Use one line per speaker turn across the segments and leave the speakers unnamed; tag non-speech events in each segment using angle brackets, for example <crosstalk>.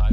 I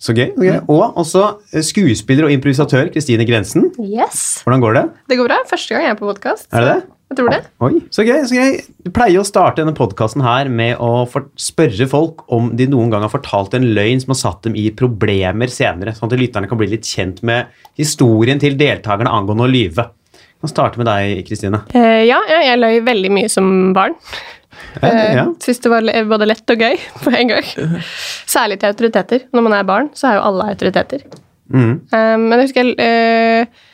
Så gøy. så gøy. Og også eh, skuespiller og improvisatør Kristine Grensen.
Yes.
Hvordan går det?
Det går bra. Første gang jeg er på podkast.
Er det det?
Jeg tror det.
Oi, så gøy, så gøy. Du pleier å starte denne podkasten her med å for- spørre folk om de noen gang har fortalt en løgn som har satt dem i problemer senere, sånn at lytterne kan bli litt kjent med historien til deltakerne angående å lyve. Vi kan starte med deg, Kristine.
Eh, ja, ja, jeg løy veldig mye som barn.
Ja,
Eh,
ja.
Syns det var le- både lett og gøy <laughs> på en
<laughs>
gang. Særlig til autoriteter. Når man er barn, så er jo alle autoriteter.
Mm.
Eh, men jeg husker jeg eh,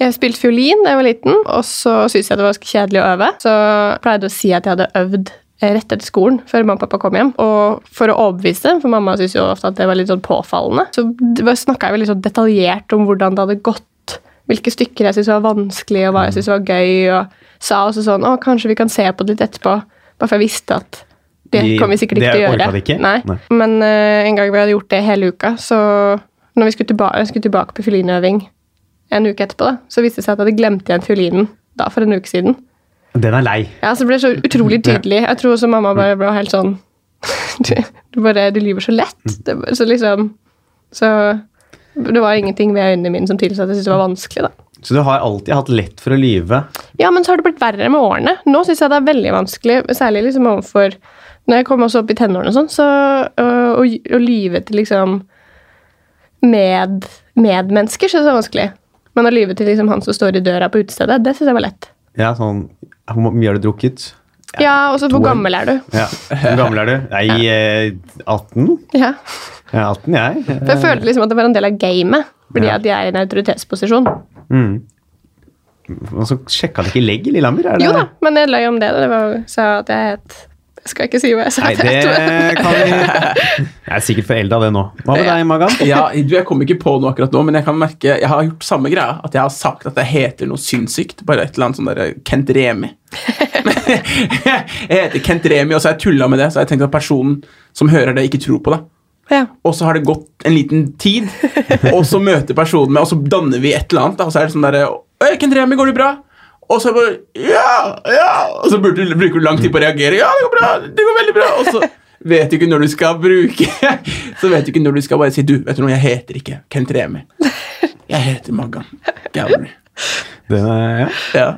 jeg spilte fiolin da jeg var liten, og så syntes jeg det var ganske kjedelig å øve. Så jeg pleide å si at jeg hadde øvd eh, rett etter skolen, før mamma og pappa kom hjem. Og for å overbevise dem, for mamma syntes jo ofte at det var litt sånn påfallende, så snakka jeg veldig sånn detaljert om hvordan det hadde gått, hvilke stykker jeg syntes var vanskelig, og hva jeg syntes var gøy, og sa også sånn Å, kanskje vi kan se på det litt etterpå. Bare for jeg visste at det
De-
kommer vi sikkert ikke
det
til å
orket
gjøre.
de ikke.
Nei.
Nei.
Men eh, en gang vi hadde gjort det hele uka, så når vi skulle, tilba jeg skulle tilbake på fiolinøving en uke etterpå, da, så viste det seg at jeg hadde glemt igjen fiolinen da for en uke siden.
Den er lei.
Ja, så det ble så utrolig tydelig. Jeg tror også mamma bare ble helt sånn <laughs> Du, du bare, du lyver så lett. Det, var- så liksom Så det var ingenting ved øynene mine som tilsa at jeg syntes det var vanskelig, da.
Så du har alltid hatt lett for å lyve.
Ja, men så har det blitt verre med årene. Nå syns jeg det er veldig vanskelig, særlig liksom overfor Når jeg kom også opp i tenårene og sånn, så øh, å, å lyve til liksom med, medmennesker syns jeg er vanskelig. Men å lyve til liksom han som står i døra på utestedet, det syns jeg var lett.
Ja, sånn Hvor mye har du drukket?
Ja, og så hvor
to år.
gammel er du?
Ja. Hvor gammel er du? Nei, eh, 18?
Ja.
Jeg er 18, jeg.
For jeg følte liksom at det var en del av gamet, fordi
Eh. Ja.
at jeg er i en autoritetsposisjon.
Og så sjekka de ikke legg i Lillehammer? er det-
Jo da, men jeg løy om det. da. Det var, sa at jeg het Jeg skal ikke si hva jeg sa.
Nei,
at jeg het.
det kan vi <laughs> Jeg er sikkert forelda, det nå. Hva med deg, Magan?
Ja, du, jeg kom ikke på noe akkurat nå, men jeg kan merke Jeg har gjort samme greia. At jeg har sagt at jeg heter noe sinnssykt. Bare et eller annet sånn der Kent Remi. <laughs> jeg heter Kent Remi, og så har jeg tulla med det. Så har jeg tenkt at personen som hører det, ikke tror på det.
<laughs> Ja.
Og så har det gått en liten tid, og så møter personen meg, og så danner vi et eller annet. da. Og så er det sånn derre «Øy, Kent Remi, går det bra? Og så bare Ja! Ja! Og så bruker du, bruker du lang tid på å reagere. Ja, det går bra! Det går veldig bra! Og så vet du ikke når du skal bruke <laughs> Så vet du ikke når du skal bare si Du, vet du noe, jeg heter ikke Kent Remi. Jeg heter Maggan Gallery.
Det, ja.
Ja.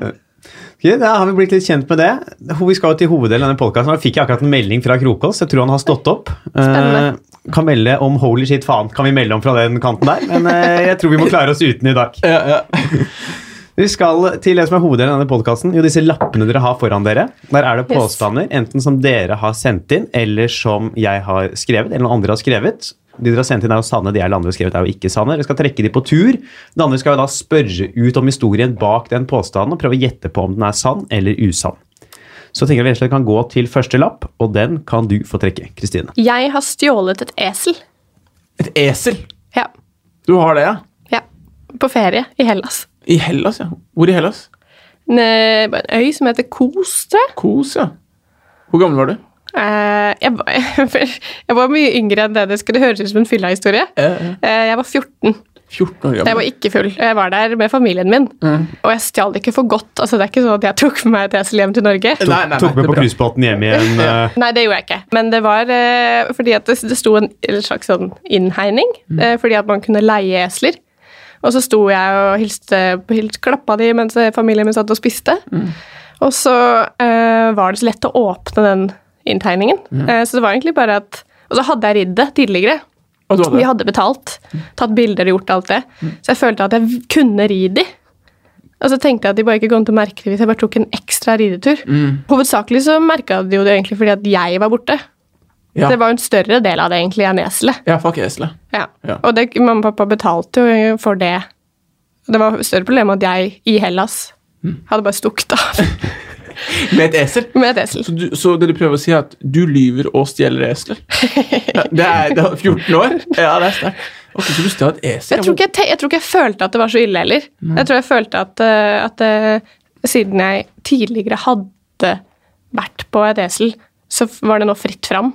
Ok, da har vi blitt litt kjent med det. Ho- Vi skal jo til hoveddelen av denne podkasten. Da fikk jeg akkurat en melding fra Krokås. Jeg tror han har stått opp. Eh,
Spennende.
kan melde om holy shit faen. Kan vi melde om fra den kanten der? Men eh, jeg tror vi må klare oss uten i dag.
Ja, ja.
Vi skal til det som er hoveddelen av denne podkasten. Jo, disse lappene dere har foran dere. Der er det
Yes.
påstander, enten som dere har sendt inn, eller som jeg har skrevet, eller noen andre har skrevet. De dere har sendt inn, er jo sanne. De jeg eller andre har skrevet, er jo ikke sanne. Dere skal trekke de på tur. Den andre skal jo da spørre ut om historien bak den påstanden, og prøve å gjette på om den er sann eller usann. Så tenker jeg vi rett og slett kan gå til første lapp, og den kan du få trekke, Kristine.
Jeg har stjålet et esel.
Et esel.
Ja.
Du har det, ja?
Ja, på ferie i Hellas.
I Hellas, ja. Hvor i Hellas?
En, eh, på en øy som heter Kos, tror jeg.
Kos, ja. Hvor gammel var du?
Eh, jeg, var, <laughs> jeg var mye yngre enn det det skulle høres ut som en fyllahistorie.
Eh,
Eh, jeg var 14.
14 år
Jeg var
gammel.
ikke full. Jeg var der med familien min. Og jeg stjal det ikke for godt. Altså, det er ikke sånn at jeg tok med meg et esel hjem til Norge.
Nei, nei, nei,
Tok
det
med
er
på
bra.
cruisebåten hjem
<laughs>
igjen. eh,
Nei, det gjorde jeg ikke. Men det var eh, fordi at det, det sto en, en slags sånn innhegning. Eh, fordi at man kunne leie esler. Og så sto jeg og hilste, hils- klappa de mens eh, familien min satt og spiste. Og så eh, var det så lett å åpne den inntegningen. Eh, så det var egentlig bare at Og så hadde jeg ridd det tidligere.
Og du hadde
Vi hadde betalt, tatt bilder og gjort alt det.
Mm.
Så jeg følte at jeg kunne ri de. Og så tenkte jeg at de bare ikke kom til å merke det hvis jeg
Mm.
bare tok en ekstra ridetur. Hovedsakelig så merka de jo det egentlig fordi at jeg var borte.
Ja.
Det var jo en større del av det egentlig enn eselet.
Ja, fuck eselet.
Ja.
Ja.
Og det, mamma og pappa betalte jo for det. Det var et større problem at jeg i Hellas
Mm.
hadde bare stukket av <laughs>
Med et esel.
med et esel.
Så, du, så det du prøver å si, er at du lyver og stjeler esler? Ja, det, er, det er 14 år? Ja, det er sterkt. Ok, så du stjal et esel?
Jeg tror, ikke jeg, te- jeg tror ikke jeg følte at det var så ille heller. Jeg tror jeg følte at, eh, at eh, siden jeg tidligere hadde vært på et esel, så f- var det nå fritt fram.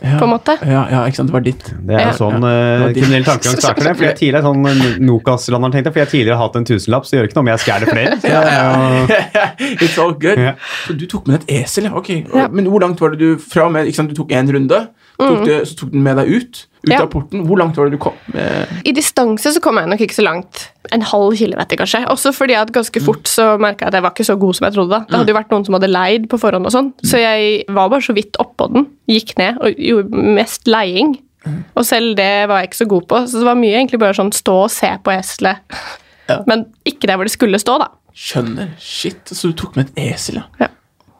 ja.
på en måte.
Ja, ja, ikke sant. Det var ditt.
Det er
Ja.
jo sånn
Ja.
eh, kriminell tankegang starter det. For jeg tidligere er sånn eh, Nokas-landeren tenkte jeg, for jeg tidligere har hatt en tusenlapp, så det gjør ikke noe om jeg stjeler flere. Så,
Ja, ja. <laughs> It's all good.
Ja.
Så du tok med deg et esel, ja. Ok. Men hvor langt var det du fra og med ikke sant? Du tok én runde, tok det, så tok den med deg ut. Ut
Mm. Ja.
av porten. Hvor langt var det du kom? Med?
I distanse så kom jeg nok ikke så langt. En halv kilometer, kanskje. Også fordi at ganske fort så merka jeg at jeg var ikke så god som jeg trodde. da. Det hadde jo vært noen som hadde leid på forhånd, og sånn. så jeg var bare så vidt oppå den. Gikk ned og gjorde mest leiing. Og selv det var jeg ikke så god på, så det var mye egentlig bare sånn stå og se på eselet.
Ja.
Men ikke der hvor det skulle stå, da.
Skjønner. Shit. Så du tok med et esel, ja.
Ja.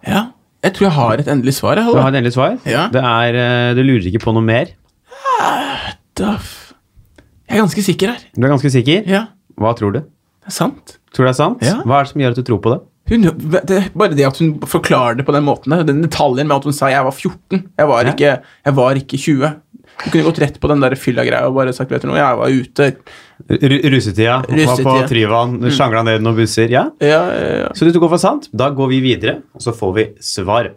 ja. Jeg tror jeg har et endelig svar. jeg,
Du
Halvor.
har et endelig svar.
Ja.
Det er, eh, du lurer ikke på noe mer.
Da f- Jeg er ganske sikker her.
Du er ganske sikker.
Ja,
Hva tror du?
det er sant.
Tror du det er sant?
Ja.
Hva er det som gjør at du tror på det?
Hun, det, er bare det at hun forklarer det på den måten der, den detaljen med at hun sa 'jeg var 14', jeg var,
Ja.
ikke, jeg var ikke 20. Hun kunne gått rett på den der fylla-greia og bare sagt vet du noe, jeg var ute.
Ru- Russetida. Var på
Russetida. Mm.
Tryvann, sjangla ned noen busser. Ja.
Ja, ja, ja.
Så du tok over sant? Da går vi videre, og så får vi svar.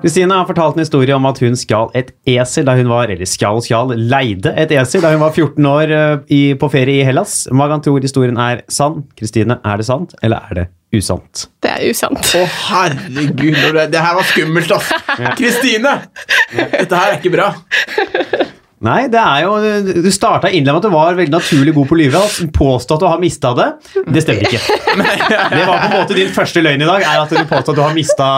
Kristine har fortalt en historie om at hun skal et esel da hun var eller skal og skal, leide et esel da hun var 14 år eh, i, på ferie i Hellas. Magan tror historien er sann. Kristine, er det sant, eller er det usant?
Det er usant.
Å, herregud, når det, det her var skummelt, ass! Kristine! Dette her er ikke bra.
Nei, det er jo Du starta innlegget med at du var veldig naturlig god på å lyve. altså. Påstå at du har mista det. Det stemmer ikke. Det var på en måte din første løgn i dag, er at du påstår at du har mista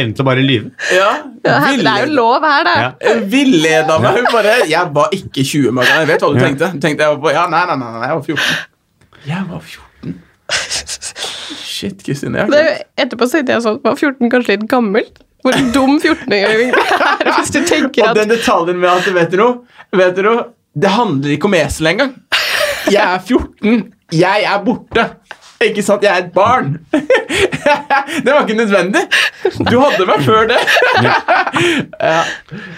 evnen til å bare lyve.
Ja,
Det er, det er jo lov her, da.
Ja.
Hun Villeda meg. Hun bare 'Jeg var ikke 20, Magan'. Jeg vet hva du tenkte. Du tenkte jeg var på, ja, nei, nei, nei, nei, jeg var 14. Jeg var 14. Shit, Kristine. jeg har
Det,
glemt.
etterpå så tenkte jeg sånn Var 14 kanskje litt gammelt? Hvor dum 14-åring er <laughs> hvis du tenker
Og
at
den detaljen med at vet du noe, vet du noe Det handler ikke om esel engang. Jeg er 14. Jeg er borte. Ikke sant? Jeg er et barn. <laughs> det var ikke nødvendig. Du hadde meg før det. <laughs> ja.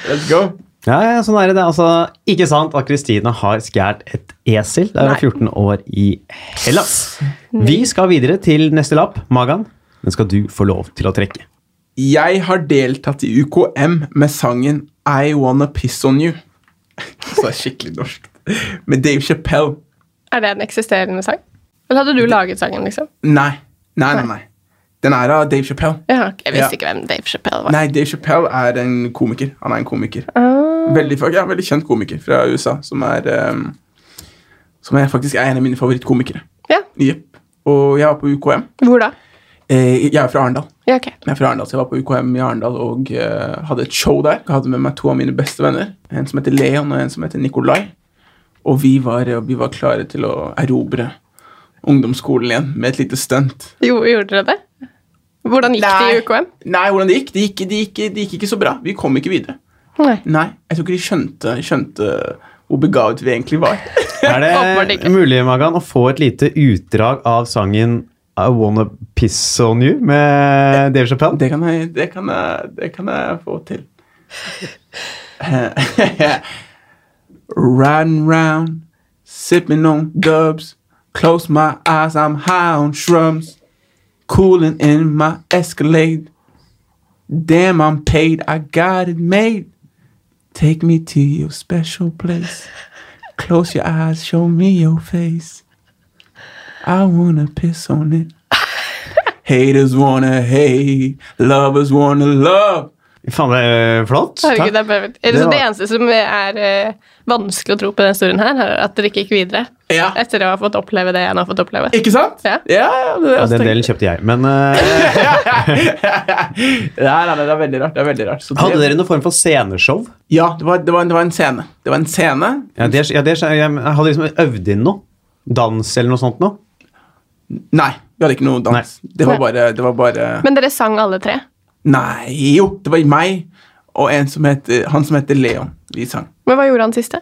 Let's go.
Ja, ja, sånn er det. Det er altså ikke sant at Kristine har skåret et esel da hun var 14 år i Hellas. Vi skal videre til neste lapp, Magan. Den skal du få lov til å trekke.
Jeg har deltatt i UKM med sangen I Wanna Piss On You. Så det er skikkelig norsk. Med Dave Chappelle.
Er det en eksisterende sang? Eller hadde du laget sangen, liksom?
Nei. Nei, nei, nei. Den er av Dave Chappelle.
Jeg, har, ikke- jeg visste
Ja.
ikke hvem Dave Chappelle var.
Nei, Dave Chappelle er en komiker. Han er en komiker.
Ah,
Veldig, ja, veldig kjent komiker fra USA, som er ehm, Som er faktisk er en av mine favorittkomikere.
ja.
Jepp. Og jeg var på UKM.
Hvor da?
Eh, jeg er fra Arendal.
Ja, ok.
Jeg er fra Arendal, så jeg var på UKM i Arendal og eh, hadde et show der. Jeg hadde med meg to av mine beste venner. En som heter Leon, og en som heter Nikolai. Og vi var, eh, vi var klare til å erobre ungdomsskolen igjen med et lite stunt.
Jo, gjorde dere det? Hvordan gikk det i
Nei.
UKM?
Nei, hvordan det gikk? Det gikk, det gikk, det gikk ikke så bra. Vi kom ikke videre.
Nei.
Nei, jeg tror ikke de skjønte, skjønte hvor begavet vi egentlig var.
Er
Åpenbart
det
ikke.
mulig, Magan, å få et lite utdrag av sangen I Wanna Piss On You med Dave Chappelle?
Det kan jeg, det kan jeg, det kan jeg få til. <laughs> Riding round, sipping on dubs. Close my eyes, I'm high on shrooms. Cooling in my Escalade. Damn, I'm paid, I got it made. Take me to your special place. Close your eyes, show me your face. I wanna piss on it. Haters wanna hate, lovers wanna love.
Faen, det er øh, flott.
Herregud, det
Takk.
er bare er det,
Det
så
var-
det eneste som er eh, vanskelig å tro på denne historien her, er at dere ikke gikk videre
Ja.
etter å ha fått oppleve det jeg nå har fått oppleve.
Ikke sant?
Ja.
ja, ja, det,
Ja,
er
den delen kjøpte jeg, men eh,
nei, nei, nei, det er veldig rart. Det er veldig rart. Så det-
Hadde dere noen form for sceneshow?
Ja, det var, det, var, det var en scene. Det var en scene.
Ja, det, ja, det, jeg, jeg hadde liksom øvd inn noe. Dans eller noe sånt noe.
Nei, vi hadde ikke noe dans. Det var bare, det var bare
Men dere sang alle tre?
Nei, jo! Det var meg og en som het, han som heter Leon. Vi sang.
Men hva gjorde han siste?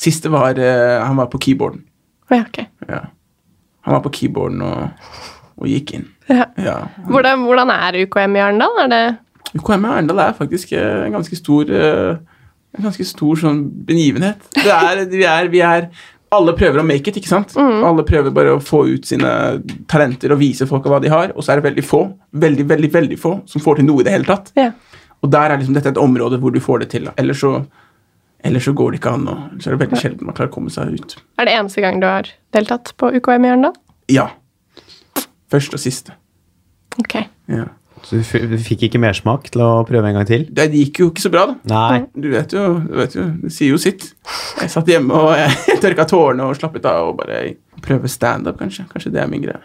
Siste var eh, Han var på keyboarden.
Å, Ja, ok.
Ja. Han var på keyboarden og, og gikk inn.
Ja.
Ja.
Hvordan, hvordan er UKM i Arendal? Er det
UKM i Arendal er faktisk eh, en ganske stor eh, En ganske stor sånn begivenhet. Det er, vi, er, vi er Alle prøver å make it, ikke sant? Alle prøver bare å få ut sine talenter og vise folk hva de har, og så er det veldig få veldig, veldig, veldig få som får til noe i det hele tatt.
ja.
Og der er liksom dette et område hvor du får det til. da. Ellers så, ellers så går det ikke an. Og, så er det veldig sjelden man klarer å komme seg ut.
Er det eneste gang du har deltatt på UKM i Arendal?
Ja. Først og siste.
Ok.
Ja.
Så du f du fikk ikke mersmak til å prøve en gang til?
Det gikk jo ikke så bra, da.
Nei.
Du vet jo, du vet jo, det sier jo sitt. Jeg satt hjemme og jeg <laughs> tørka tårene og slappet av og bare prøve standup, kanskje. Kanskje det er min greie.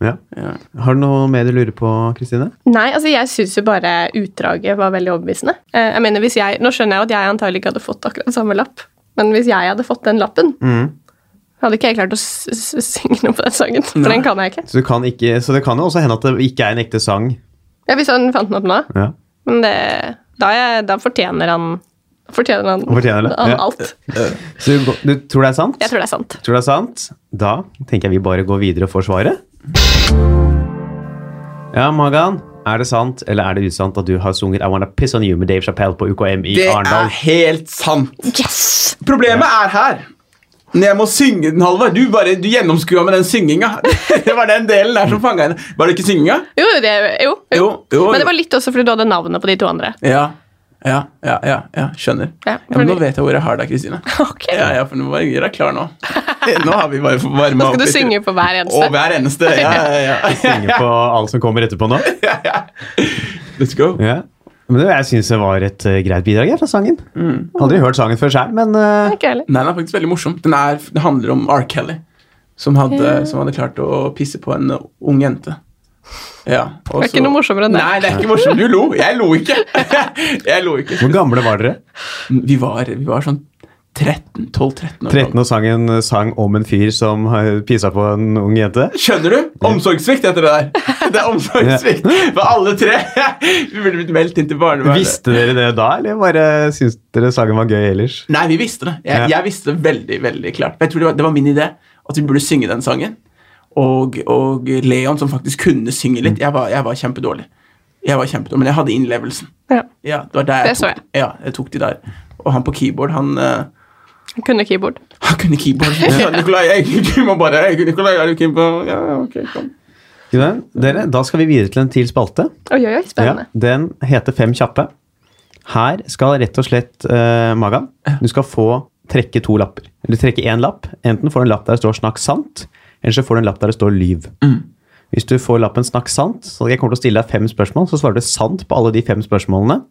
Ja.
Ja.
Har du noe mer du lurer på, Kristine?
Nei, altså jeg syns jo bare utdraget var veldig overbevisende. Eh, Jeg mener, hvis jeg, Nå skjønner jeg jo at jeg antagelig ikke hadde fått akkurat samme lapp, men hvis jeg hadde fått den lappen,
Mm.
hadde ikke jeg klart å s s synge noe på den sangen. For
Nei.
den kan jeg ikke.
Så, du kan ikke, så det kan jo også hende at det ikke er en ekte sang.
Ja, Hvis han fant den opp nå,
Ja.
men det, da, er jeg, da fortjener han Fortjener han,
Han fortjener det,
han
ja.
alt.
Så du, du tror det er sant?
Jeg tror det er sant.
Tror du det er sant? Da tenker jeg vi bare går videre og får svaret. Ja, Magan. Er det sant eller er det usant at du har sunget I Wanna Piss On You med Dave Chappelle på UKM i
Det er <laughs>
Arendal?
helt sant!
Yes!
Problemet er her. Når jeg må synge den, Halvard Du bare, du gjennomskua med den synginga. <laughs> Det var den delen der som fanga henne. Var det ikke synginga?
Jo, det, jo, jo.
Jo, jo,
Men
jo.
det var litt også fordi du hadde navnet på de to
<laughs>
andre.
Ja. Ja, ja, ja, ja, skjønner.
Ja,
Ja, men nå
fordi-
vet jeg hvor jeg har deg, Kristine.
Ok.
Ja, ja, for nå var jeg klar
<laughs>
nå. Nå har vi bare varma
Skal du synge på hver
Og
eneste?
hver eneste. Ja, ja, ja.
Synge på alt som kommer etterpå nå?
Let's go.
Ja. Men det, jeg syns det var et eh, greit bidrag jeg, fra sangen. Aldri hørt sangen før sjøl, men eh,
Ikke heller.
Nei, den er faktisk veldig morsom. Den er, det handler om R. Kelly, som hadde,
Ja.
som hadde klart å pisse på en uh, ung jente. Ja, og
Det er ikke noe morsommere enn det.
Nei, det er ikke morsomt. Du lo. Jeg lo ikke. <laughs> Jeg lo ikke.
hvor gamle var dere?
Vi var, vi var sånn 13, 12-13 år.
13 og sang en eh, sang om en fyr som har pissa på en ung jente?
Skjønner du? Omsorgssvikt heter det
<laughs>
der. Det er omsorgssvikt for alle tre. <laughs> Vi burde blitt meldt inn til barnevernet.
Visste dere det da, eller bare syntes dere sangen var gøy ellers?
Nei, vi visste det. Jeg,
Ja.
jeg visste det veldig veldig klart. Jeg tror det var, det var min idé at vi burde synge den sangen. Og, og Leon, som faktisk kunne synge litt. Jeg var, jeg var kjempedårlig. Jeg var kjempedårlig, Men jeg hadde innlevelsen.
Ja.
Ja, det var der
Det
jeg
så
tok, ja, jeg tok de der. Og han på keyboard, han, eh, <laughs>
Jeg kunne keyboard.
han kunne <laughs> keyboard. Ja. Nikolai, jeg, du må bare jeg, Nikolai, er du keen på Ja, ja, ok, kom.
Ikke det? Dere, da skal vi videre til en til spalte.
Oi, oi, oi, spennende.
Ja, den heter Fem kjappe. Her skal rett og slett eh, Magan, du skal få trekke to lapper. Eller trekke én lapp. Enten får du en lapp der det står 'snakk sant', eller så får du en lapp der det står 'lyv'. Hvis du får lappen 'snakk sant', så jeg kommer til å stille deg fem spørsmål, så svarer du sant på alle de fem spørsmålene.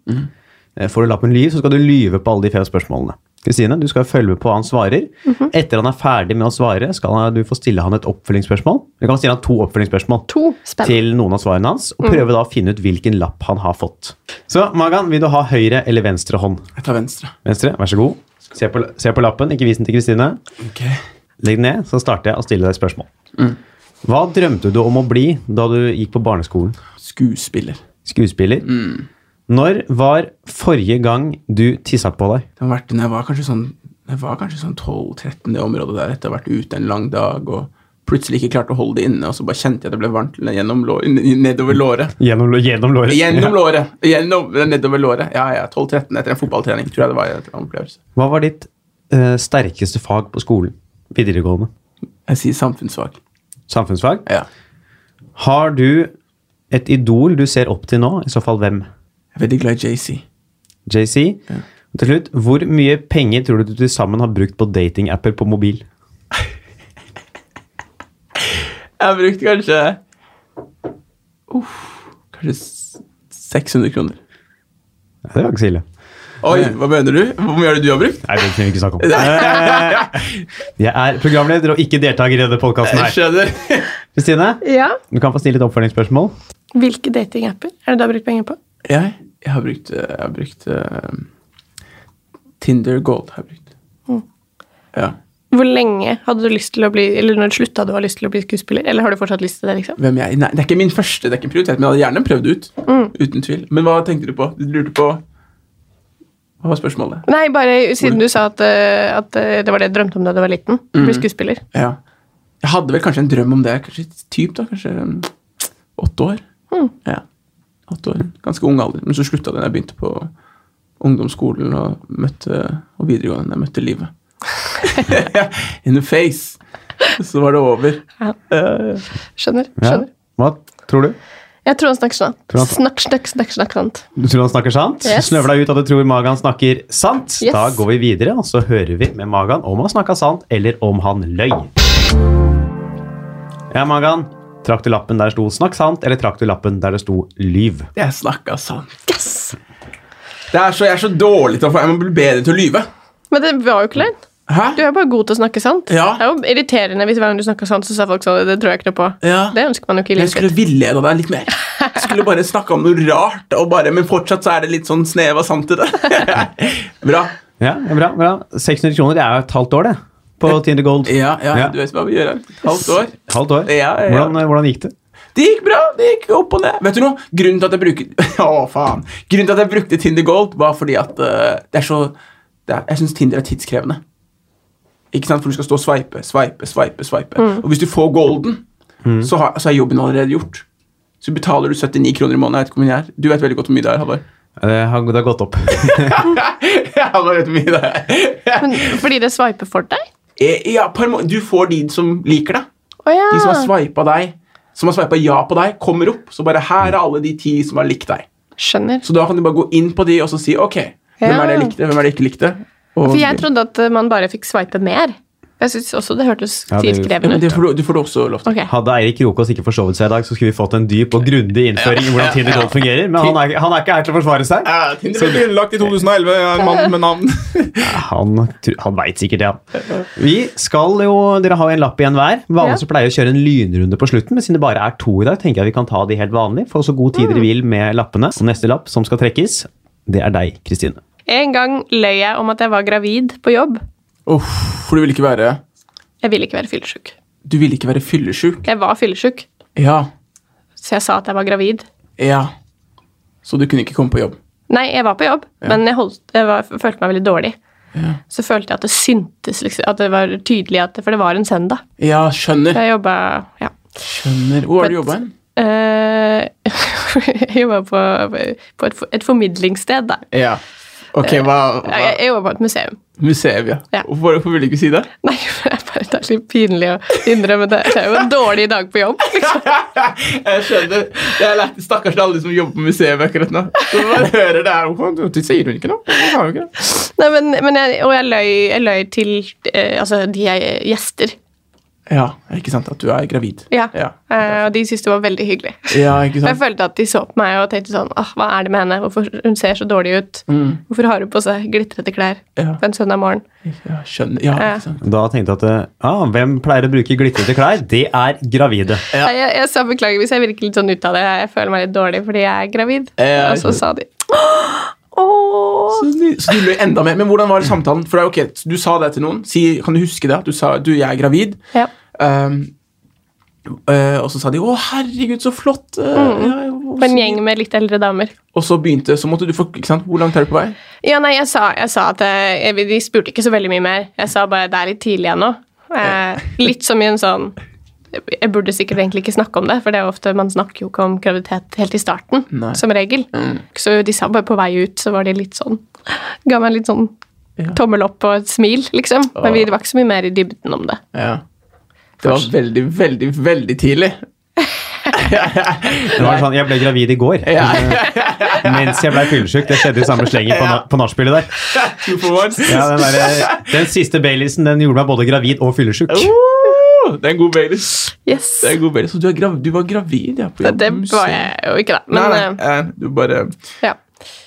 Eh, Får du lappen 'lyv', så skal du lyve på alle de fem spørsmålene. Kristine, du skal følge med på hva han svarer.
Mhm.
Etter han er ferdig med å svare, skal han, du få stille han et oppfølgingsspørsmål. Du kan stille han to oppfølgingsspørsmål
To. Spennende.
til noen av svarene hans, og prøve da å finne ut hvilken lapp han har fått. Så Magan, vil du ha høyre eller venstre hånd?
Jeg tar venstre.
Venstre, vær så god. Se på, se på lappen, ikke vis den til Kristine.
Ok.
Legg den ned, så starter jeg å stille deg et spørsmål. Hva drømte du om å bli da du gikk på barneskolen?
Skuespiller.
Skuespiller. Når var forrige gang du tissa på deg?
Det har vært, når jeg var kanskje sånn jeg var kanskje sånn 12-13 i området der etter å ha vært ute en lang dag og plutselig ikke klarte å holde det inne, og så bare kjente jeg det ble varmt gjennom lå, nedover låret.
Gjennom, gjennom låret.
Gjennom låret! Gjennom, nedover låret. Ja, ja. 12-13 etter en fotballtrening, tror jeg det var. etter en opplevelse.
Hva var ditt eh, sterkeste fag på skolen? Videregående.
Jeg sier samfunnsfag.
Samfunnsfag.
Ja.
Har du et idol du ser opp til nå? I så fall hvem?
Jeg er veldig glad i JC.
JC. Og Til slutt, hvor mye penger tror du du til sammen har brukt på datingapper på mobil?
Jeg har brukt kanskje Uff, kanskje s- 600 kroner.
Ja, Det var ikke så ille.
Oi, hva mener du? Hvor mye er det du har brukt?
Nei, det trenger vi ikke snakke om. Eh, <laughs> Jeg er programleder og ikke deltaker i denne podkasten
Jeg
her.
skjønner.
Kristine,
Ja.
du kan få stille et oppfølgingsspørsmål.
Hvilke datingapper er det du har brukt penger på?
Jeg, jeg har brukt, eh, jeg har brukt eh, Tinder Gold. Har jeg brukt. Ja.
Hvor lenge hadde du lyst til å bli Eller når slutta du å ha lyst til å bli skuespiller? Eller har du fortsatt lyst til det, liksom?
Hvem jeg, nei, det er ikke min første, det er ikke en prioritet, men jeg hadde gjerne prøvd det ut. Uten tvil. Men hva tenkte du på? Du lurte på Hva var spørsmålet?
Nei, bare siden du sa at, eh, at eh, det var det jeg drømte om da du var liten. Bli
Mm.
skuespiller.
Ja. Jeg hadde vel kanskje en drøm om det. Kanskje typ da, kanskje mm, åtte år.
Hmm.
Ja. Åtte år. Ganske ung alder. Men så slutta det da jeg begynte på ungdomsskolen og, møtte, og videregående. Jeg møtte livet. <laughs> In the face. Så var det over.
Skjønner?
Ja.
skjønner.
Hva tror du?
Jeg tror han snakker sant.
Tror han-
Snakk, snakk, snakk, snakk sant.
Du tror han snakker sant?
Yes.
Snøvla ut at du tror Magan snakker sant?
Yes.
Da går vi videre, og så hører vi med Magan om han snakka sant, eller om han løy. Ja, Magan. Trakk du lappen der det sto 'snakk sant', eller trakk du lappen der det sto 'lyv'?
Jeg snakka sant.
Yes!
Det er så, jeg er så dårlig til å få Jeg må bli bedre til å lyve.
Men det var jo ikke løgn.
Hæ?
Du er bare god til å snakke sant.
Ja.
Det er jo irriterende hvis hver gang du snakker sant, så sa folk sånn. Det tror jeg ikke noe på.
Ja.
Det ønsker man jo ikke
Jeg
i livet
skulle
sitt.
villeda deg litt mer. Jeg skulle bare snakke om noe rart, og bare, men fortsatt så er det litt sånn snev av sant i det. <laughs> Bra.
Ja, ja, bra, bra. 600 kroner det er jo et halvt år, det. På Tinder Gold.
Ja, ja,
Ja.
du vet hva vi gjør her. Halvt år.
Halvt år.
Ja, ja.
Hvordan, hvordan gikk det?
Det gikk bra. det gikk opp og ned. Vet du noe? Grunnen til at jeg bruker <laughs> Å, faen. Grunnen til at jeg brukte Tinder Gold, var fordi at eh, det er så det er, Jeg syns Tinder er tidskrevende. Ikke sant? For du skal stå og sveipe, sveipe, sveipe. sveipe. Og hvis du får golden, så, har, så er jobben allerede gjort. Så betaler du 79 kroner i måneden. Jeg vet ikke hvor mye det er. Du vet veldig godt hvor mye det er, Halvard.
Det har, det har gått opp.
<laughs> Ja, hva vet vi det er?
Men fordi det sveiper for deg?
Eh, Ja, per må- du får de som liker deg.
Å ja.
De som har sveipa deg, som har sveipa ja på deg, kommer opp. Så bare her er alle de ti som har likt deg.
Skjønner.
Så da kan du bare gå inn på de og så si ok, hvem
Ja.
er det jeg likte, hvem er det jeg ikke likte? Og,
For jeg trodde at eh, man bare fikk sveipe mer. Jeg syns også det hørtes
Ja, det-
ja, men
tidskrevende ut.
det får du, det får du også lov til.
Ok.
<laughs> Hadde Eirik Rokås ikke forsovet seg i dag, så skulle vi fått en dyp og grundig innføring i hvordan Tinder Gold fungerer, men han er, han er ikke her til å forsvare seg.
Eh, Tinder ble grunnlagt i 2011. Jeg er en mann med navn.
Han, tr- han veit sikkert det, ja. Vi skal jo, Dere har jo en lapp igjen hver. Vanligvis
Ja.
så pleier vi å kjøre en lynrunde på slutten, men siden det bare er to i dag, tenker jeg vi kan ta de helt vanlig. Få så god tid dere vil med lappene. Og neste lapp som skal trekkes, det er deg, Kristine.
En gang løy jeg om at jeg var gravid på jobb.
<laughs> Uff, for du ville ikke være
Jeg ville ikke være fyllesyk.
Du ville ikke være fyllesyk?
Jeg var fyllesyk,
Ja.
så jeg sa at jeg var gravid.
Ja. Så du kunne ikke komme på jobb?
Nei, jeg var på jobb, men jeg, holdt, jeg var, følte meg veldig dårlig. Så følte jeg at det syntes, liksom, at det var tydelig, at, for det var en søndag.
Ja, skjønner.
Jeg jobba ja.
Skjønner. Hvor har du jobba hen?
Eh, <laughs> jeg jobba på, på et, for- et formidlingssted, da.
Ja. Ok, hva,
Jeg, jeg jobba på et museum.
Museum, ja.
Eh, Ja.
Hvorfor, hvorfor vil du ikke si det?
Nei, <laughs> for det er bare det er litt pinlig å innrømme det. Det er jo en dårlig dag på jobb. Liksom.
Jeg skjønner. Det er lett, Stakkars til alle de som jobber på museum akkurat nå. Så man hører det her. Hvorfor hvorfor sier hun ikke noe? Hvorfor har hun ikke det?
Nei, men, men jeg, og jeg løy, jeg løy til eh, altså, de jeg, gjester.
Ja, ikke sant at du er gravid.
Ja.
Ja,
Eh, og de syntes det var veldig hyggelig.
Ja, ikke
Jeg
sant?
følte at de så på meg og tenkte sånn Åh, Hva er det med henne? Hvorfor Hun ser så dårlig ut. Hvorfor har hun på seg glitrete klær
Mm. Ja.
på en søndag morgen?
Ja, skjønner. Ja, ikke sant.
Da tenkte jeg at eh, ah, hvem pleier å bruke glitrete klær? Det er gravide.
Ja.
Nei, Jeg, jeg sa beklager hvis jeg virker litt sånn ut av det. Jeg føler meg litt dårlig fordi jeg er gravid.
Ja,
og så sa de Åh!
Så ny- Så du løy enda mer. Men hvordan var samtalen? For det er ok, Du sa det til noen. Si, kan du huske det? At du sa du, jeg er gravid.
Ja.
Ehm, eh, og så sa de 'Å, herregud, så flott'. eh, ja, ja, og
På Mm. en
så-
gjeng med litt eldre damer.
Og så begynte, så måtte du få ikke sant? Hvor langt er du på vei?
Ja, nei, jeg sa, jeg sa at eh, jeg, De spurte ikke så veldig mye mer. Jeg sa bare det er litt tidlig ennå. Eh, litt som i en sånn Jeg burde sikkert egentlig ikke snakke om det, for det er jo ofte, man snakker jo ikke om graviditet helt i starten.
Nei. Mm.
Som regel. Så de sa bare på vei ut, så var de litt sånn Ga meg litt sånn tommel opp og et smil, liksom. Men vi det var ikke så mye mer i dybden om det.
Ja. Det var veldig, veldig, veldig tidlig.
Det var sånn, Jeg ble gravid i går mens jeg ble fyllesyk. Det skjedde i samme slengen på, na- på nachspielet der.
<laughs> Two for one.
Ja, den, der, eh, den siste Baileysen den gjorde meg både gravid og fyllesyk.
Oh. Woo!
Uh,
Det er en god Baileys.
Yes.
Det er en god Baileys. Så du, er grav du var gravid, ja? På
Det,
jobb,
det
museum.
var jeg jo ikke, da.
Nei,
Men
nei, eh, du bare
eh, ja.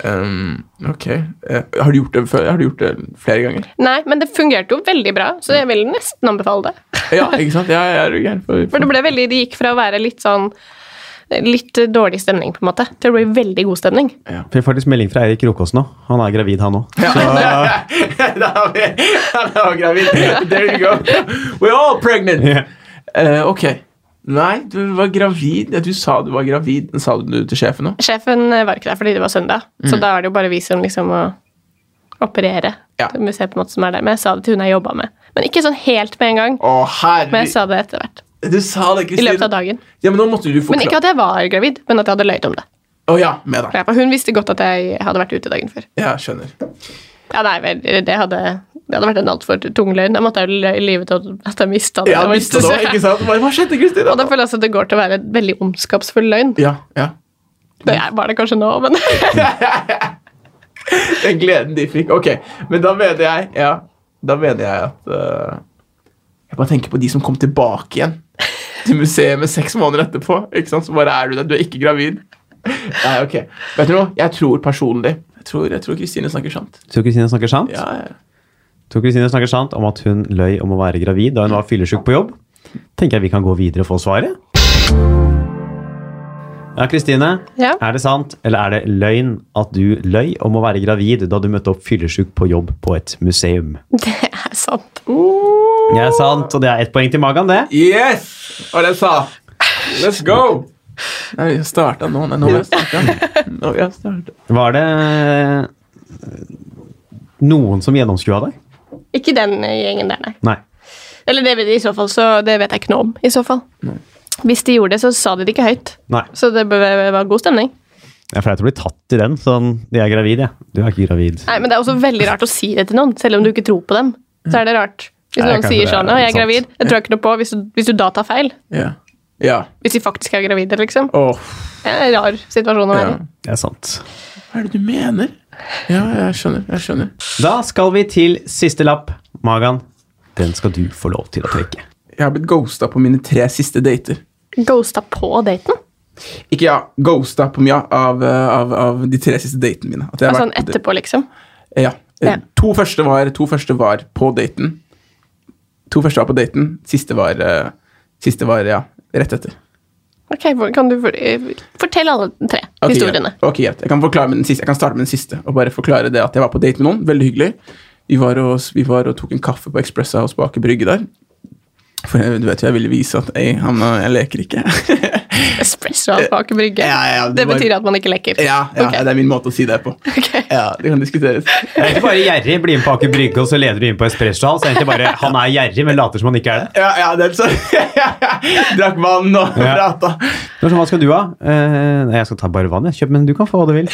ehm, Ok. Eh, har, du gjort det før? har du gjort det flere ganger?
nei, men det fungerte jo veldig bra, så jeg vil nesten anbefale det.
Ja, ikke sant? Ja, jeg er jo gæren. For,
For
<laughs>
det ble veldig, det gikk fra å være litt sånn Litt eh, dårlig stemning, på en måte, til å bli veldig god stemning.
Fikk faktisk melding fra Eirik Rokås nå. Han er gravid, han òg.
da er vi- da er vi gravid. There you go. We're all pregnant.
Ja.
Eh, ok. Nei, du var gravid. Ja, Du sa du var gravid. Men Sa du det til sjefen òg?
Sjefen eh, var ikke der fordi det var søndag,
Mm.
så da er det jo bare vi som liksom må operere.
Ja.
Museet på en måte som er der. Men jeg sa det til hun jeg jobba med. Men ikke sånn helt med en gang.
Å,
Men jeg
herregud.
sa det etter hvert.
Du sa det,
I løpet
Kristin.
av dagen.
Ja, men nå måtte du
Men ikke
forklare.
at jeg var gravid, men at jeg hadde løyet om det.
Å ja, med deg.
Ja, for Hun visste godt at jeg hadde vært ute dagen før.
Ja, skjønner.
Ja, nei, vel, det hadde, det hadde vært en altfor tung løgn. Jeg måtte jo lø- lyve til at jeg mista det.
Ja,
Det var
visste
ikke
du
så-
det, ikke sant? Hva hva skjedde, Kristin?
Og da føler jeg også at det går til å være en veldig ondskapsfull løgn.
Ja, ja.
Det er- var det kanskje nå, men <laughs>
Den gleden de fikk. Ok, men da mener jeg Ja, da mener jeg at eh, Jeg bare tenker på de som kom tilbake igjen til museet med seks måneder etterpå. Ikke sant? Så bare er du der. Du er ikke gravid. Nei, ok. Vet du noe? Jeg tror personlig Jeg tror, jeg tror Kristine snakker sant.
Tror Kristine snakker sant?
Ja, ja.
Tror Kristine snakker sant om at hun løy om å være gravid da hun var fyllesyk på jobb? Tenker jeg vi kan gå videre og få svaret. Ja, Kristine.
Ja.
Er det sant, eller er det løgn, at du løy om å være gravid da du møtte opp fyllesyk på jobb på et museum?
det er sant.
Det er sant, og det er ett poeng til Magan, det.
Yes! Var det jeg sa. Let's go! Nei, vi har starta nå. Nei, nå har vi <laughs> starta. Nå har vi starta.
Var det eh, noen som gjennomskua deg?
Ikke den gjengen der, nei.
Nei.
Eller det, vet- i så fall, så det vet jeg ikke noe om. i så fall. Hvis de gjorde det, så sa de det ikke høyt.
Nei.
Så det be- var god stemning.
Det er flaut å bli tatt i den. Sånn, jeg er gravid, jeg. Du er ikke gravid.
Nei, Men det er også veldig rart å si det til noen, selv om du ikke tror på dem. Så er det rart. Hvis
Nei,
noen
kanskje
sier
det er
sånn 'Å, jeg er
sant.
gravid', det tror jeg ikke noe på. Hvis du, hvis du da tar feil.
Ja. Ja.
Hvis de faktisk er gravide, liksom.
Åh.
Det er en rar situasjon å være
ja.
i.
Det er sant.
Hva er det du mener? Ja, jeg skjønner. Jeg skjønner.
Da skal vi til siste lapp. Magan, den skal du få lov til å trekke.
Jeg har blitt ghosta på mine tre siste dater.
Ghosta på daten?
Ikke ja, ghosta på mye av, eh, av, av de tre siste datene mine. At jeg har
Altså sånn
vært på
etterpå, liksom.
date- Ja. Eh,
Ja.
To, første var, to første var på daten. To første var på daten, siste var, eh, siste var ja, rett etter.
Ok, hvor- Kan du for, eh, fortell alle tre
Ok,
historiene?
greit. Ok, greit. Jeg kan, forklare med den siste. jeg kan starte med den siste og bare forklare det at jeg var på date med noen. Veldig hyggelig. Vi var og, vi var og tok en kaffe på Express House bak i brygge der. For jeg, du vet jo, jeg ville vise at ei, han, eh, jeg leker ikke. <laughs>
Espresso og bak i brygge.
Eh, Ja, ja, ja, det
det
var-
betyr at man ikke leker.
ja, ja
Ok.
det er min måte å si det på.
Ok.
Ja, Det kan diskuteres.
Det er ikke bare gjerrig, bli med på Aker Brygge, og så leder du inn på Espresso Hall. Så er det egentlig bare, han er gjerrig, men later som han ikke er det.
Ja, ja, det <laughs> er sånn. Drakk vann og
Ja.
prata.
Det er sånn, Hva skal du ha? Eh, nei, jeg skal ta bare vann, jeg. Kjøp, men du kan få hva du vil.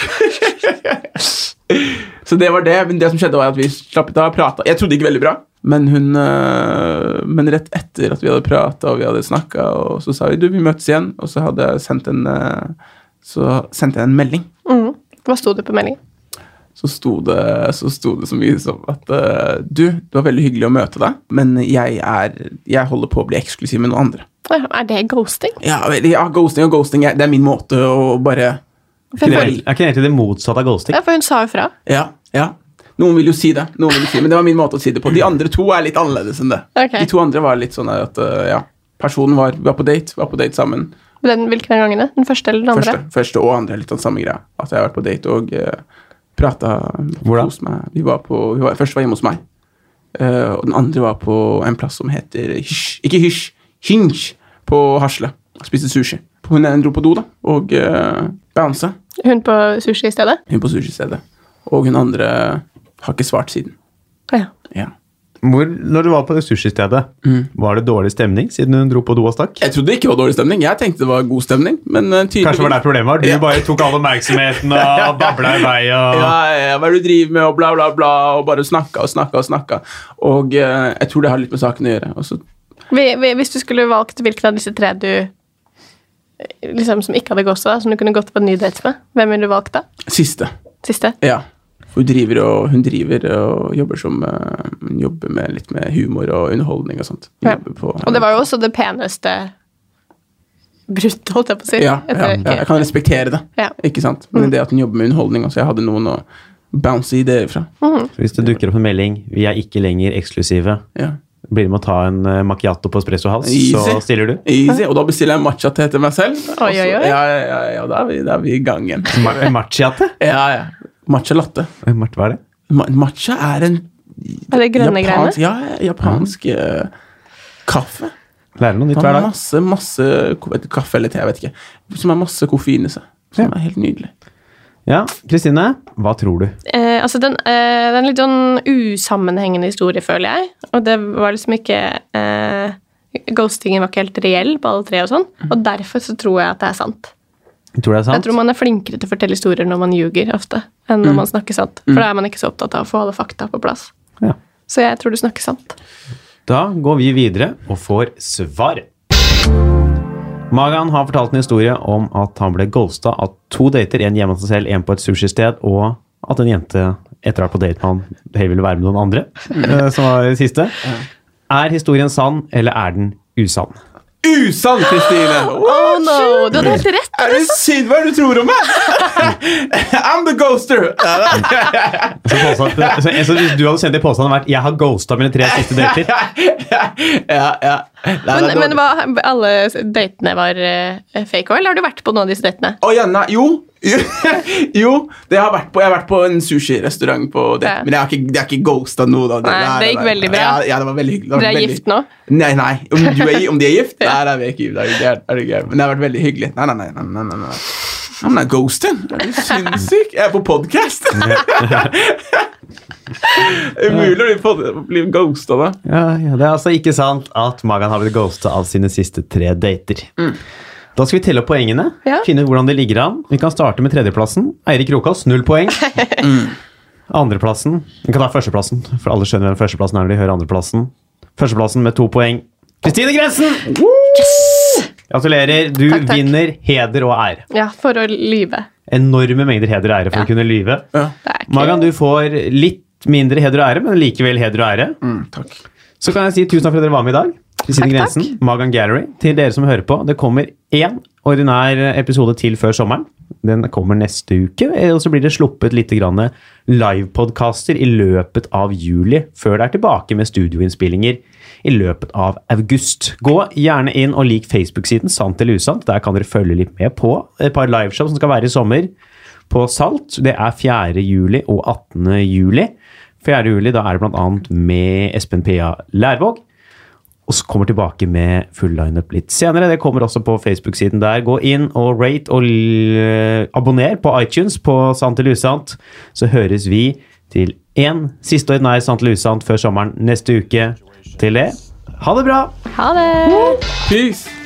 Så det var det. Men det som skjedde, var at vi slappet av og prata. Jeg trodde ikke veldig bra, men hun øh, Men rett etter at vi hadde prata og vi hadde snakka, og så sa vi du, vi møtes igjen, og så hadde jeg sendt en øh, så sendte jeg en melding.
Mhm. Hva sto det på meldingen?
Så sto det så, sto det så mye som at øh, Du, det var veldig hyggelig å møte deg, men jeg, er, jeg holder på å bli eksklusiv med noen andre.
Å ja, Er det ghosting?
Ja, vel, ja ghosting og ghosting, jeg- det er min måte å bare
For,
Er
jeg
ikke
føler,
det er ikke det egentlig det motsatte av ghosting?
ja, for hun sa jo fra.
Ja, ja. Noen vil jo si det, noen vil jo si, men det var min måte å si det på. De andre to er litt annerledes enn det.
Ok.
De to andre var litt sånn her at øh, ja, personen var, var på date, var på date sammen.
Den, hvilken av gangene? Den første eller den andre?
Første, første og andre er litt sånn samme greia. At jeg har vært på date og uh, prata
Hvor da?
hos meg. Vi var på, vi var, første var hjemme hos meg, Eh, og den andre var på en plass som heter Hysj. Ikke Hysj, Hinge på Hasle. Spiste sushi. Hun ene dro på do, da, og uh, bounsa.
Hun på sushi i stedet?
Hun på sushistedet. Og hun andre har ikke svart siden.
Å ja.
Ja. Mm.
Hvor, når du var på det sushistedet, var det dårlig stemning siden hun dro på do og stakk?
Jeg trodde det ikke var dårlig stemning. Jeg tenkte det var god stemning, men eh, tydeligvis
Kanskje det var der problemet var? Du
Ja.
bare tok all oppmerksomheten og babla i vei og
Ja, ja, ja, hva er det du driver med, og bla, bla, bla, og bare snakka og snakka og snakka. Og eh, jeg tror det har litt med saken å gjøre. Og så,
Vi- vi- Hvis du skulle valgt hvilken av disse tre du eh, liksom som ikke hadde ghosta, da, som du kunne gått på en ny date med, hvem ville du valgt da?
siste.
Siste?
Ja. Hun driver og, hun driver og jobber som eh, hun Jobber med litt med humor og underholdning og sånt. Hun
Ja.
jobber på-
Og det var jo også det peneste bruttet, holdt jeg på å si.
ja, ja,
Etter-
ja, jeg kan respektere det,
Ja. Mm.
ikke sant? Men det at hun jobber med underholdning også, jeg hadde noen å bounce ideer fra.
Mm.
Så Hvis det dukker opp en melding 'Vi er ikke lenger eksklusive',
Ja.
blir det med å ta en eh, macchiato på Espresso House,
Easy.
så stiller du.
Easy, og da bestiller jeg matcha te til meg selv. og
Oi,
så-
oi, oi.
Ja, ja, ja, ja, da er vi, da er vi i gang igjen.
Ma- Macchiate?
Ja, ja. Matcha latte.
Oi, Marte, hva er det?
Ma matcha er en
Er det grønne greiene?
japansk, ja, ja, japansk eh, kaffe.
Lærer noe nytt
Han
hver
har
dag.
masse, masse ko- et kaffe eller te, jeg vet ikke. Som har masse koffein i seg.
Ja.
Som er helt nydelig.
Ja, Kristine, hva tror du?
Eh, altså den, eh, den litt sånn usammenhengende historie, føler jeg. Og det var liksom ikke eh, Ghostingen var ikke helt reell på alle tre, og sånn.
Mhm.
Og derfor så tror jeg at det er sant.
Tror du det er
Jeg
sant?
tror man er flinkere til å fortelle historier når man ljuger ofte, enn
Mhm.
når man snakker sant. For da er man ikke så opptatt av å få alle fakta på plass.
Ja.
Så jeg tror du snakker sant.
Da går vi videre og får svar. Magan har fortalt en historie om at han ble ghosta av to dater. En hjemme hos seg selv, en på et sushisted, og at en jente etter å ha vært på date med han heller ville være med noen
<laughs>
andre. eh, Som var det siste. Er historien sann, eller er den usann?
Usann, <laughs> Kristine!
Oh no! Du hadde helt rett!
Er det synd hva er det du <laughs> tror om meg?! I'm the ghoster!
Så, påstand, <laughs> så, så hvis du hadde sendt en påstand hadde vært 'jeg har ghosta mine tre siste dater',
ja, ja. Nei, det
Men,
er dårlig.
men var alle datene var eh, fake òg, eller har du vært på noen av disse datene?
Å, ja, nei, jo. <laughs> jo, det har jeg vært på. Jeg har vært på en sushirestaurant på det.
Ja.
Men jeg har ikke, jeg har ikke ghosta noen av det.
Nei,
Nei,
det gikk
nei, nei.
veldig bra.
Ja, ja, det var veldig hyggelig. Det har
Dere
vært
er
veldig-
gift nå?
Nei, nei. Om, du er, gi- om de er
<laughs>
gift? Nei, nei, vi er ikke gift. Det er gæren- er du gæren. Men det har vært veldig hyggelig. Nei, nei, nei. nei, nei, nei, nei. Han er ghosten. Er du sinnssyk? Jeg er på
<laughs>
<laughs> podkast! Umulig å bli, pod- bli ghosta da.
Ja, ja, Det er altså ikke sant at Magan har blitt ghosta av sine siste tre dater. Da skal vi telle opp poengene.
Mm. Ja.
Finne ut hvordan det ligger an. Vi kan starte med tredjeplassen. Eirik Rokås, null
<laughs>
poeng.
Mm.
Andreplassen Vi kan ta førsteplassen, for alle skjønner hvem førsteplassen er når de hører andreplassen. Førsteplassen med to poeng. Kristine Grensen! Gratulerer. Du
Takk, takk.
vinner heder og ære.
Ja, for å lyve.
Enorme mengder heder og ære for
Ja.
å kunne lyve.
Ja.
Det er ikke
Magan, du får litt mindre heder og ære, men likevel heder og ære.
Mm, takk.
Så kan jeg si tusen takk for at dere var med i dag. Kristine
Takk,
Grensen, Magan Gallery. Til dere som hører på, det kommer én ordinær episode til før sommeren. Den kommer neste uke, eh, og så blir det sluppet litt grann livepodkaster i løpet av juli, før det er tilbake med studioinnspillinger i løpet av august. Gå gjerne inn og lik Facebook-siden Sant eller usant. Der kan dere følge litt med på et par liveshow som skal være i sommer på Salt. Det er 4. juli og 18. juli. 4. juli da er det bl.a. med Espen Pia Lærvåg. Og så kommer tilbake med full lineup litt senere. Det kommer også på Facebook-siden der. Gå inn og rate og l- abonner på iTunes på Sant eller usant. Så høres vi til én siste ordinær Sant eller usant før sommeren neste uke. Til det, ha det bra!
Ha det!
Peace.